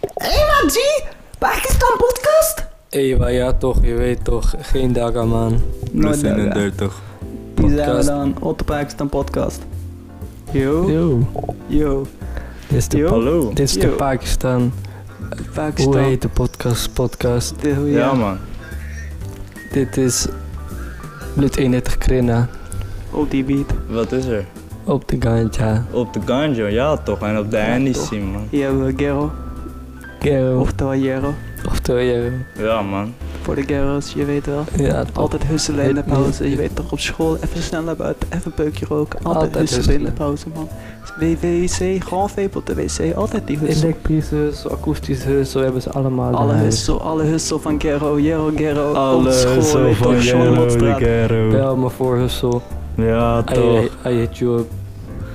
man, G! Pakistan podcast? Hé, maar ja toch, je weet toch. Geen daga man. Nooit We zijn dagen. er 30. Nou, eh, Die zijn we podcast. dan, op de Pakistan podcast. Yo, Yo, yo. dit is de, Yo. pa- Hallo. dit is de Yo. Pakistan. Pakistan. Hoe heet de podcast? Podcast. Dit- hoe- Ja, man. Dit is Blut 31 Krina Op die beat. Wat is er? op de ganja. Op de ganja, ja toch. En op de Ja, Hennessy, man. Hier hebben we Gero, Gero. oftewel Jero. Oftewel Gero. Ja, man. Voor de Gero's, je weet wel. Ja, toch. Altijd husselen in de Weet niet. pauze. Je weet toch, op school even snel naar buiten, even een peukje roken. Altijd, Altijd husselen in de husselen. pauze, man. WWC, gewoon vape op de wc. Altijd die hussel. Elektrische hussel, akoestische hussel hebben ze allemaal. in Alle huis. hussel, alle hussel van Gero, Jero, Gero. op Alles school, zo weet van toch, Jero de Schoonhoofdstraat. Gero. Bel me voor hussel. Ja, I, I, toch. I hit you up.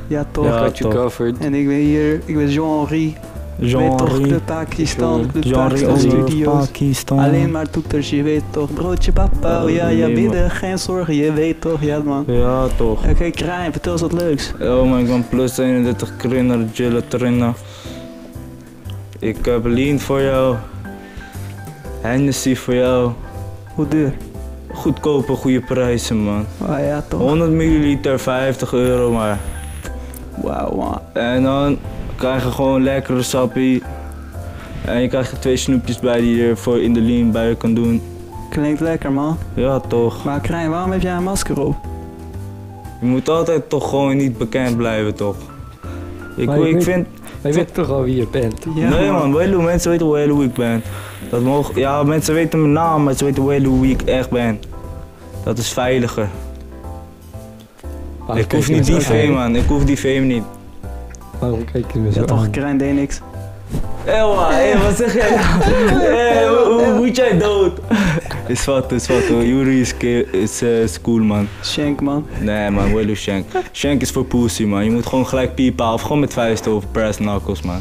Ja, toch. Ja, I got you toch. covered. En ik ben hier, ik ben Jean-Henri. Je weet toch, Jean-Rie. Club Pakistan, Jean- Club Jean-Rie Pakistan Henri. Olivier Studios. Pakistan. Alleen maar toeters, je weet toch. Broodje papa, oh ja, ja, Nee, bidden, geen zorgen, je weet toch, ja man. Ja, toch. Oké, Krijn, vertel eens wat leuks. Oh man, ik ben plus 31 krinner, chillen trainer. Ik heb lean voor jou. Hennessy voor jou. Hoe duur? Goedkope, goede prijzen, man. Oh ja, toch. 100 milliliter, 50 euro maar. Wauw, man. En dan krijg je gewoon lekkere sappie. En je krijgt er twee snoepjes bij die je voor in de lean bij je kan doen. Klinkt lekker, man. Ja toch. Maar Krijn, waarom heb jij een masker op? Je moet altijd toch gewoon niet bekend blijven toch. Ik, Maar je ik weet- vind... Maar je weet toch al wie je bent. Ja, nee man, Welu, mensen weten hoe Welu ik ben. Dat mogen... Ja, mensen weten mijn naam, maar ze weten Welu hoe ik echt ben. Dat is veiliger. Waarom ik kijk hoef je niet me die zo aan? fame man, ik hoef die fame niet. Waarom kijk je me zo Ja, toch, aan? Krijn deed niks. Ewa, hé, wat zeg jij? Hé, hoe- hoe moet jij dood? Is wat, is wat hoor. Yuri is, ke- is eh, is cool man. Shank, man. Nee man, Willu Shank. Shank is voor pussy man. Je moet gewoon gelijk piepen of gewoon met vuisten of brass knuckles man.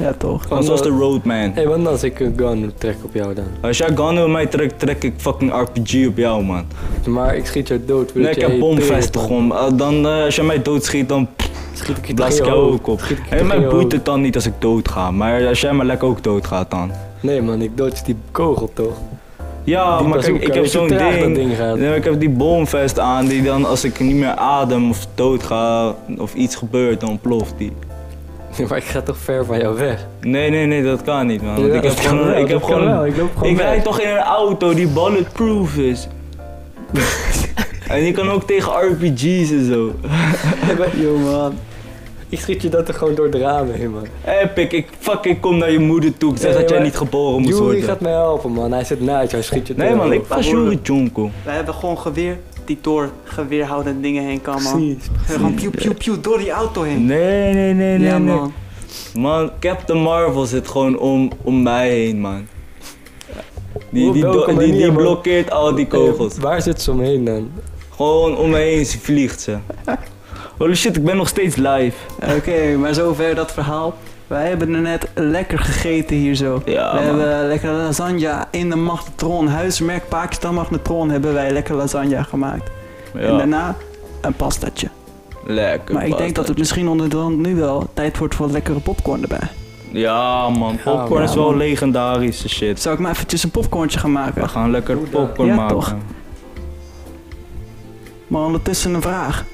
Ja, toch. Gewoon zoals de roadman. Hé, want als ik een gun trek op jou dan. Als jij gun op mij trekt, trek ik fucking RPG op jou man. Maar ik schiet jou dood. Nee, omdat ik jij heb bomvest tegenkomt. gewoon. Eh, Dan, eh, als jij mij doodschiet, dan Schiet ik je blaas ik tegen je jou hoofd. ook op. Schiet ik je En tegen mij je boeit hoofd. het dan niet als ik dood ga. Maar als jij maar lekker ook doodgaat dan. Nee man, ik dodge die kogel toch? Ja, Die Ah, maar kijk, bazooka, ik heb weet je zo'n hoe traag dat ding. ding gaat. Nee, maar ik heb die bomvest aan die dan als ik niet meer adem of dood ga of iets gebeurt, dan ploft die. maar ik ga toch ver van jou weg. Nee, nee, nee, dat kan niet man. Ah, Want Ja, ik dat heb kan gewoon, wel, ik dat heb kan wel, gewoon, Ik loop gewoon ik weg. rijd toch in een auto die bulletproof is. en je kan ook tegen RPG's en zo. Yo, man. Ik schiet je dat er gewoon door de ramen heen man. Epic, ik fuck, ik kom naar je moeder toe. Ik zeg Nee, dat jij maar- niet geboren moest Jury worden. gaat mij helpen man. Hij zit naast je, hij schiet je Nee door. man, ik was Jury Jonko. We hebben gewoon geweer die door geweerhoudende dingen heen kan, man. Precies. We hebben Gewoon piu, piu, piu, door die auto heen. Nee, nee, nee, nee. ja, nee. man. Man, Captain Marvel zit gewoon om, om mij heen, man. Die, Op die, welke do- die, die manier, man? blokkeert al die kogels. Eh, waar zit ze omheen dan? Gewoon om me heen ze vliegt ze. Holy shit, ik ben nog steeds live. Oké, maar zover dat verhaal. Wij hebben er net lekker gegeten hier zo. Ja, we man. hebben lekker lasagne in de magnetron. Huismerk Pakistan magnetron hebben wij lekker lasagne gemaakt. En Ja, daarna een pastatje. lekker. maar ik denk dat bastard. het misschien onderhand nu wel tijd wordt voor lekkere popcorn erbij. Ja, man, popcorn man. is wel legendarische shit. Zou ik maar eventjes een popcorntje gaan We maken? gaan lekker Hoe dan? popcorn Ja, maken. toch. Maar ondertussen een vraag.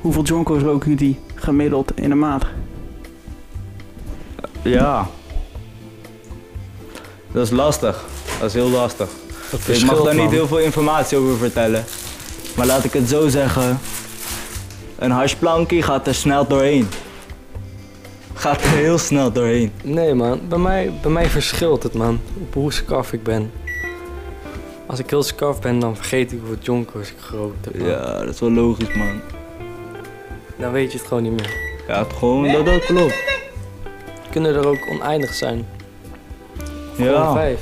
Hoeveel jonko's roken jullie gemiddeld in een maand? Ja. Dat is lastig. Dat is heel lastig. Dat Ik mag verschilt, daar niet man. heel veel informatie over vertellen. Maar laat ik het zo zeggen. Een hashplankie gaat er snel doorheen. Gaat er heel snel doorheen. Nee man, bij mij, bij mij verschilt het man. Op hoe scarf ik ben. Als ik heel scarf ben, dan vergeet ik hoeveel jonkers ik gerookt heb. man. Ja, dat is wel logisch man. Dan weet je het gewoon niet meer. Ja, het gewoon dat dat klopt. Kunnen er ook oneindig zijn. Gewoon Ja, vijf.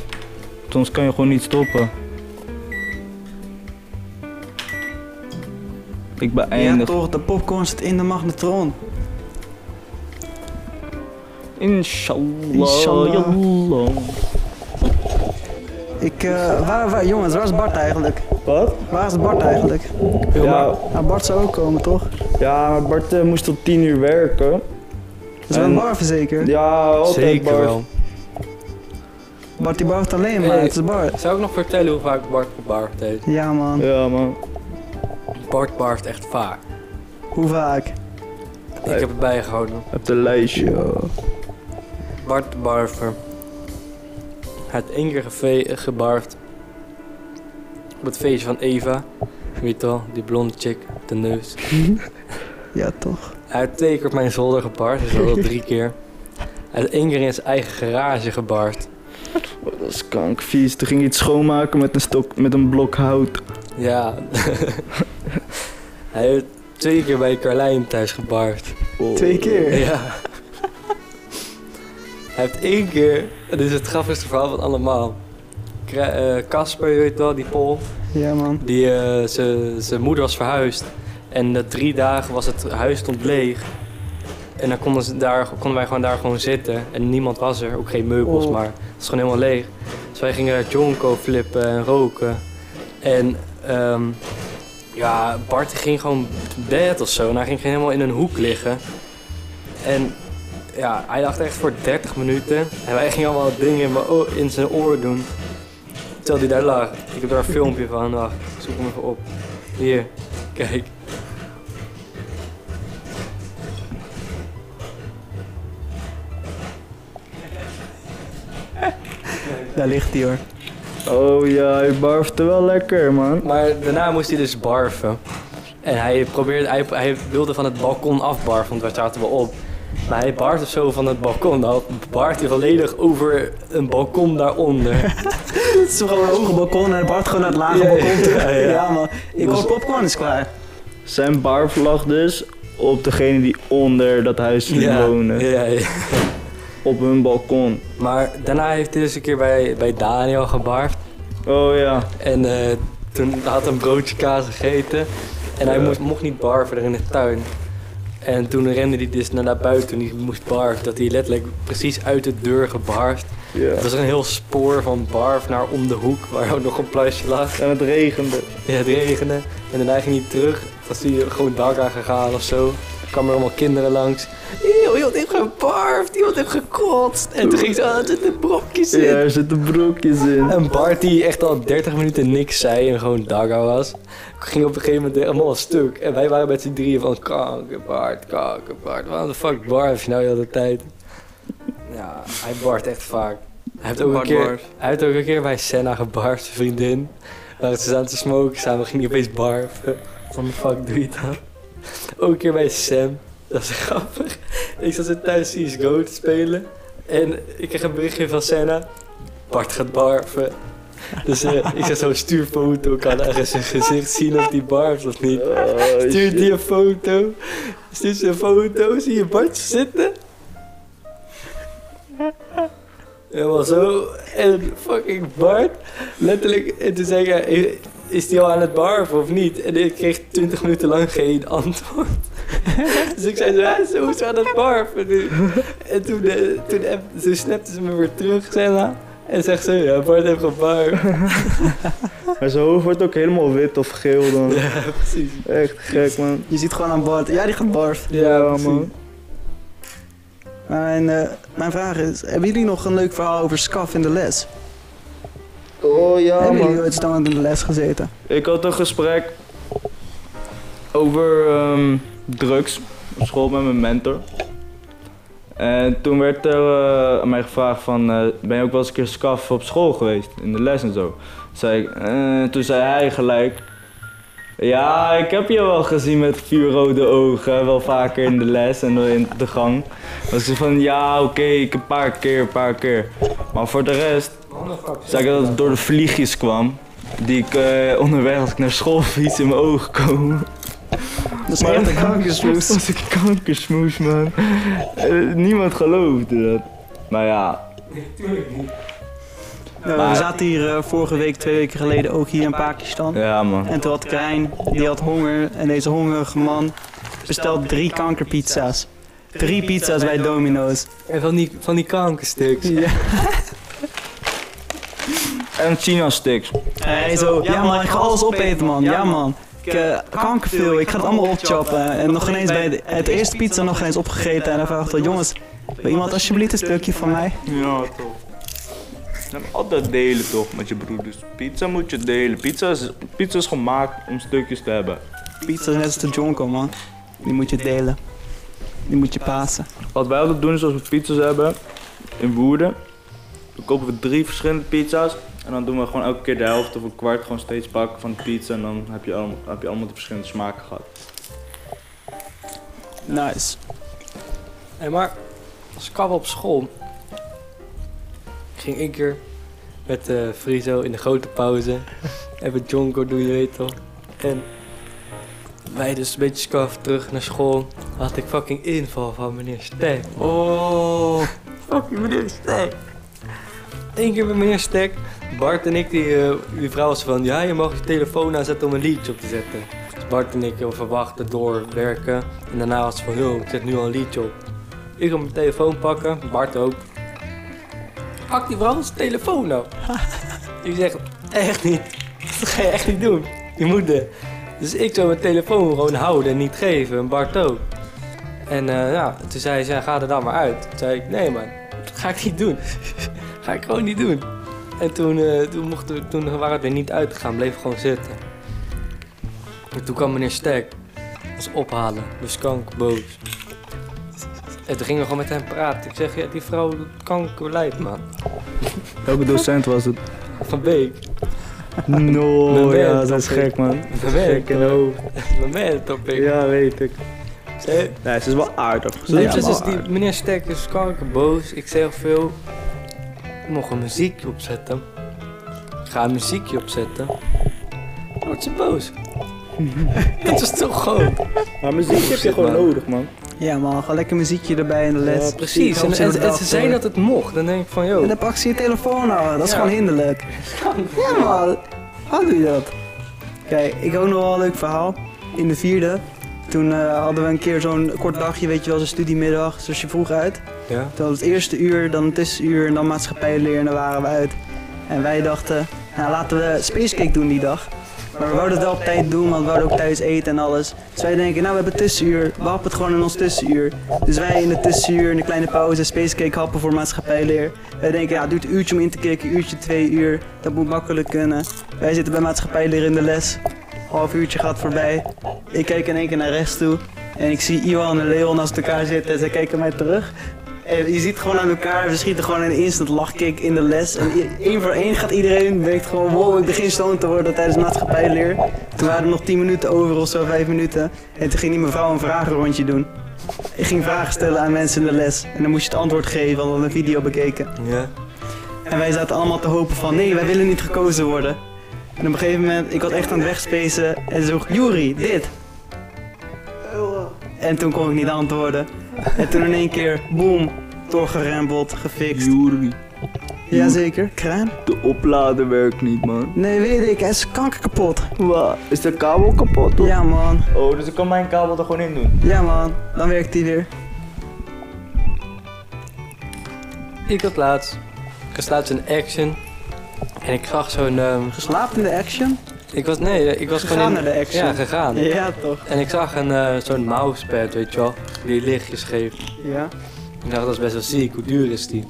soms kan je gewoon niet stoppen. Ik Ja beëindig. toch, de popcorn zit in de magnetron. Inshallah. Inshallah. Inshallah. Ik, eh, waar, waar, jongens, waar is Bart eigenlijk? Wat? Waar is Bart eigenlijk? Wil maar- Nou, Bart zou ook komen, toch? ja, maar Bart eh, moest tot 10 uur werken. Dat is wel En- Marvin zeker? Ja, Zeker wel. Barty Bart alleen, maar Hey. het is Bart. Zou ik nog vertellen hoe vaak Bart gebarfd heeft? Ja man, Ja, man. Bart barft echt vaak. hoe vaak? Ik heb het bijgehouden. Op de lijstje. Bart de barver. Hij heeft één keer geve- eh, gebarfd. Op het feestje van Eva. Weet je wel, die blonde chick, met de neus. Ja toch. Hij heeft twee keer op mijn zolder gebarfd, dus dat was drie keer. Hij heeft één keer in zijn eigen garage gebarfd. Oh, dat is kankvies. Toen ging hij iets schoonmaken met een, stok, met een blok hout. Ja. hij heeft twee keer bij Carlijn thuis gebarfd. Oh. Twee keer. Ja. Hij heeft één keer, en dit is het grappigste verhaal van allemaal. Kra- eh, Casper, je weet wel, die Pol, Ja man. die eh, zijn moeder was verhuisd. En na drie dagen was het huis stond leeg. En dan konden, ze daar, konden wij gewoon daar gewoon zitten. En niemand was er, ook geen meubels, Oh. maar het was gewoon helemaal leeg. Dus wij gingen daar jonko flippen en roken. En ehm, ja, Bart ging gewoon te bed of zo. En hij ging helemaal in een hoek liggen. En ja, hij dacht echt voor 30 minuten. En wij gingen allemaal dingen in, mijn oor- in zijn oren doen. Terwijl hij daar lag. Ik heb daar een filmpje van. Wacht, ik zoek hem even op. Hier, kijk. Daar ligt hij hoor. Oh ja, hij barfte wel lekker, man. Maar daarna moest hij dus barven. En hij, probeerde, hij, hij wilde van het balkon afbarven, want wij zaten wel op. Maar hij barfde zo van het balkon. Nou, barft hij volledig over een balkon daaronder. Het is gewoon een hoge balkon en Bart gewoon naar het lage Ja, balkon toe. ja, Ja, ja. man, ik Was- hoor popcorn is klaar. Zijn barf lag dus op degene die onder dat huis wonen. ja, ja. Op hun balkon. Maar daarna heeft hij dus een keer bij, bij Daniel gebarfd. Oh ja. En eh, toen had hij een broodje kaas gegeten. En hij Ja. moest, mocht niet barven er in de tuin. En toen rende hij dus naar buiten toen hij moest barven. Dat hij letterlijk precies uit de deur gebarfd. ja. Het was een heel spoor van barf naar om de hoek, waar ook nog een pluisje lag. En het regende. Ja, het regende. En daarna ging hij terug. Toen was hij gewoon het dak aan gegaan of zo. Er kwamen er allemaal kinderen langs. Eeuw, iemand heeft gebarfd, iemand heeft gekotst. En toen ging ze, ah, er zitten brokjes in. Ja, er zitten broekjes in. En Bart, die echt al 30 minuten niks zei en gewoon daga was, ging op een gegeven moment helemaal stuk. En wij waren met z'n drieën van kanker Bart, kanker Bart. Waarom de fuck barf je nou de hele tijd? Ja, hij bart echt vaak. Hij heeft ook, een Bart keer, barft. hij heeft ook een keer bij Senna gebarfd, zijn vriendin. Waar ze aan te smoken samen, ging hij opeens barfen. Van de fuck doe je dat? Ook een keer bij Sam. Dat is grappig. Ik zat zo thuis CSGO te spelen. En ik kreeg een berichtje van Senna. Bart gaat barven. Dus eh, ik zeg zo, stuur foto. Kan ergens zijn gezicht zien of die barft of niet. Oh, Stuur shit. die een foto. Stuur ze een foto. Zie je Bart zitten? Helemaal zo. En fucking Bart. Letterlijk. En toen zei ik, eh, is die al aan het barven of niet? En ik kreeg 20 minuten lang geen antwoord. dus ik zei zo, hij is sowieso aan het barven nu. En toen, eh, toen, app, toen snapte ze me weer terug, Senna. En zegt ze, ja, Bart heeft gebarven. Maar zijn hoofd wordt ook helemaal wit of geel dan. ja, precies. Eh, Echt gek, man. Je ziet gewoon aan Bart, ja die gaat barf. Ja, man. precies. Maar mijn, eh, mijn vraag is, hebben jullie nog een leuk verhaal over Scaf in de les? Oh ja, hebben man. jullie ooit staan in de les gezeten? Ik had een gesprek over ehm, drugs op school met mijn mentor. En toen werd er eh, aan mij gevraagd van, eh, ben je ook wel eens een keer scaf op school geweest? In de les en zo. Zei ik, eh, toen zei hij gelijk, ja, ik heb je wel gezien met vier rode ogen, wel vaker in de les en in de gang. Was ik van, ja, oké, ik een paar keer, een paar keer. Maar voor de rest Zei ik dat het door de vliegjes kwam. Die ik eh, onderweg als ik naar school fiets in mijn ogen komen. Dat is Maar echt een dan- kankersmoes. was ik kankersmoes, man. Eh, niemand geloofde dat. Maar ja, Eh, we zaten hier eh, vorige week, twee weken geleden, ook hier in Pakistan. ja man. En toen had Krijn, die had honger. En deze hongerige man bestelt drie kankerpizza's. Drie pizza's bij Domino's. En van die, van die kankerstuks. En China sticks. En hij zo, ja man, ik ga alles opeten man, ja man. Ik eh, kanker veel, ik ga het allemaal opchoppen. En nog ineens bij de- het eerste pizza nog eens opgegeten. En hij vraagt al, jongens, wil iemand alsjeblieft een stukje van mij? Ja, toch. Je hebt altijd delen toch met je broeders. Pizza moet je delen. Pizza is, pizza is gemaakt om stukjes te hebben. Pizza is net als de jonko, man. Die moet je delen. Die moet je pasen. Wat wij altijd doen is als we pizza's hebben in Woerden, dan kopen we drie verschillende pizza's. En dan doen we gewoon elke keer de helft of een kwart gewoon steeds pakken van de pizza. En dan heb je allemaal, heb je allemaal de verschillende smaken gehad. Nice. Hé, maar als ik kwam op school, ging ik keer met eh Frizo in de grote pauze. Even Jonko doen, je weet toch. En wij dus een beetje skaf terug naar school. Had ik fucking inval van meneer Stek. Oh. Fucking meneer Stek. Eén keer met meneer Stek. Bart en ik, die, eh, die vrouw was van, ja, je mag je telefoon aanzetten om een liedje op te zetten. Dus Bart en ik eh, verwachten doorwerken. En daarna was ze van, joh, ik zet nu al een liedje op. Ik ga mijn telefoon pakken, Bart ook. Pak die vrouw zijn telefoon nou. ik zeg, echt niet. Dat ga je echt niet doen. Je moet dit. Dus ik zou mijn telefoon gewoon houden en niet geven. En Bart ook. En eh, ja, toen zei ze, ga er dan maar uit. Toen zei ik, nee man, dat ga ik niet doen. ga ik gewoon niet doen. En toen, eh, toen, mochten we, toen waren we er niet uitgegaan, bleef gewoon zitten. En toen kwam meneer Stek ons ophalen, dus kank boos. En toen gingen we gewoon met hem praten. Ik zeg, ja, die vrouw doet kanker lijdt, man. Welke docent was het? Van Beek. Mijn No, band, Oh ja, dat is dat ik- gek man. Van Beek. in de hoofd. Van Beek, top ik. Ja, weet ik. Ze- Nee, ze is wel aardig. Ze Nee, is dus wel is die, aardig. meneer Stek is kankerboos. Ik zeg veel. Ik mocht een muziekje opzetten. Ik ga een muziekje opzetten. Dan wordt ze boos. Dat is toch gewoon. Maar muziek heb je Shit, gewoon man. nodig man. Ja, man. Gewoon lekker muziekje erbij in de les. Ja, Precies. En, en, en ze zei dat het mocht. Dan denk ik van, En joh. dan pak ze je telefoon nou. Dat is Ja. gewoon hinderlijk. Ja, man. Hoe doe je dat? Kijk, ik ook nog wel een leuk verhaal. In de vierde, toen eh, hadden we een keer zo'n kort dagje, weet je wel, zo'n studiemiddag. Dus je vroeg uit. Ja. Toen was het eerste uur, dan het tussenuur en dan maatschappijleer en daar waren we uit. En wij dachten, nou laten we spacecake doen die dag. Maar we wouden het wel op tijd doen, want we wouden ook thuis eten en alles. Dus wij denken, nou we hebben tussenuur, we happen het gewoon in ons tussenuur. Dus wij in het tussenuur, in de kleine pauze, spacecake happen voor maatschappijleer. Wij denken, ja het duurt een uurtje om in te kicken, uurtje, twee uur. Dat moet makkelijk kunnen. Wij zitten bij maatschappijleer in de les. Half uurtje gaat voorbij. Ik kijk in één keer naar rechts toe. En ik zie Iwan en Leon naast elkaar zitten en zij kijken mij terug. En je ziet gewoon aan elkaar, we schieten gewoon een instant lachkick in de les. En i- één voor één gaat iedereen, denkt gewoon, wow, ik begin stoned te worden tijdens maatschappijleer. Toen waren er nog 10 minuten over of zo, 5 minuten. En toen ging die mevrouw een vragenrondje doen. Ik ging vragen stellen aan mensen in de les. En dan moest je het antwoord geven, want we hadden een video bekeken. Ja. En wij zaten allemaal te hopen van, nee, wij willen niet gekozen worden. En op een gegeven moment, ik was echt aan het wegspacen en ze vroeg, Juri, dit. En toen kon ik niet antwoorden. En toen in één keer, boom, doorgerempeld, gefixt. Jury, Jazeker, kraan? de oplader werkt niet man. Nee, weet ik, hij is kanker kapot. Wat? Is de kabel kapot? of- Ja man, Oh, dus ik kan mijn kabel er gewoon in doen. ja man, dan werkt hij weer. Ik had laatst. Ik was laatst in action. En ik zag zo'n. ehm, Geslaapt in de action? ik was. Nee, eh, ik was Gegaan gewoon. in- naar de action. Ja, gegaan. Ja toch, En ik zag een, eh, zo'n mousepad, weet je wel. Die lichtjes geeft. ja. Ik dacht, dat is best wel ziek. Hoe duur is die?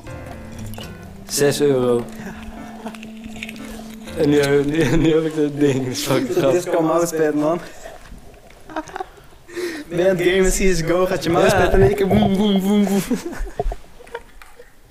6 euro. En nu, heb- nu, nu heb ik dat ding. Dat is fucking Dit is grappig. gewoon mousepad man. Ben je aan het gamen CSGO, gaat je mousepad Ja. in één keer boem boem boem boem.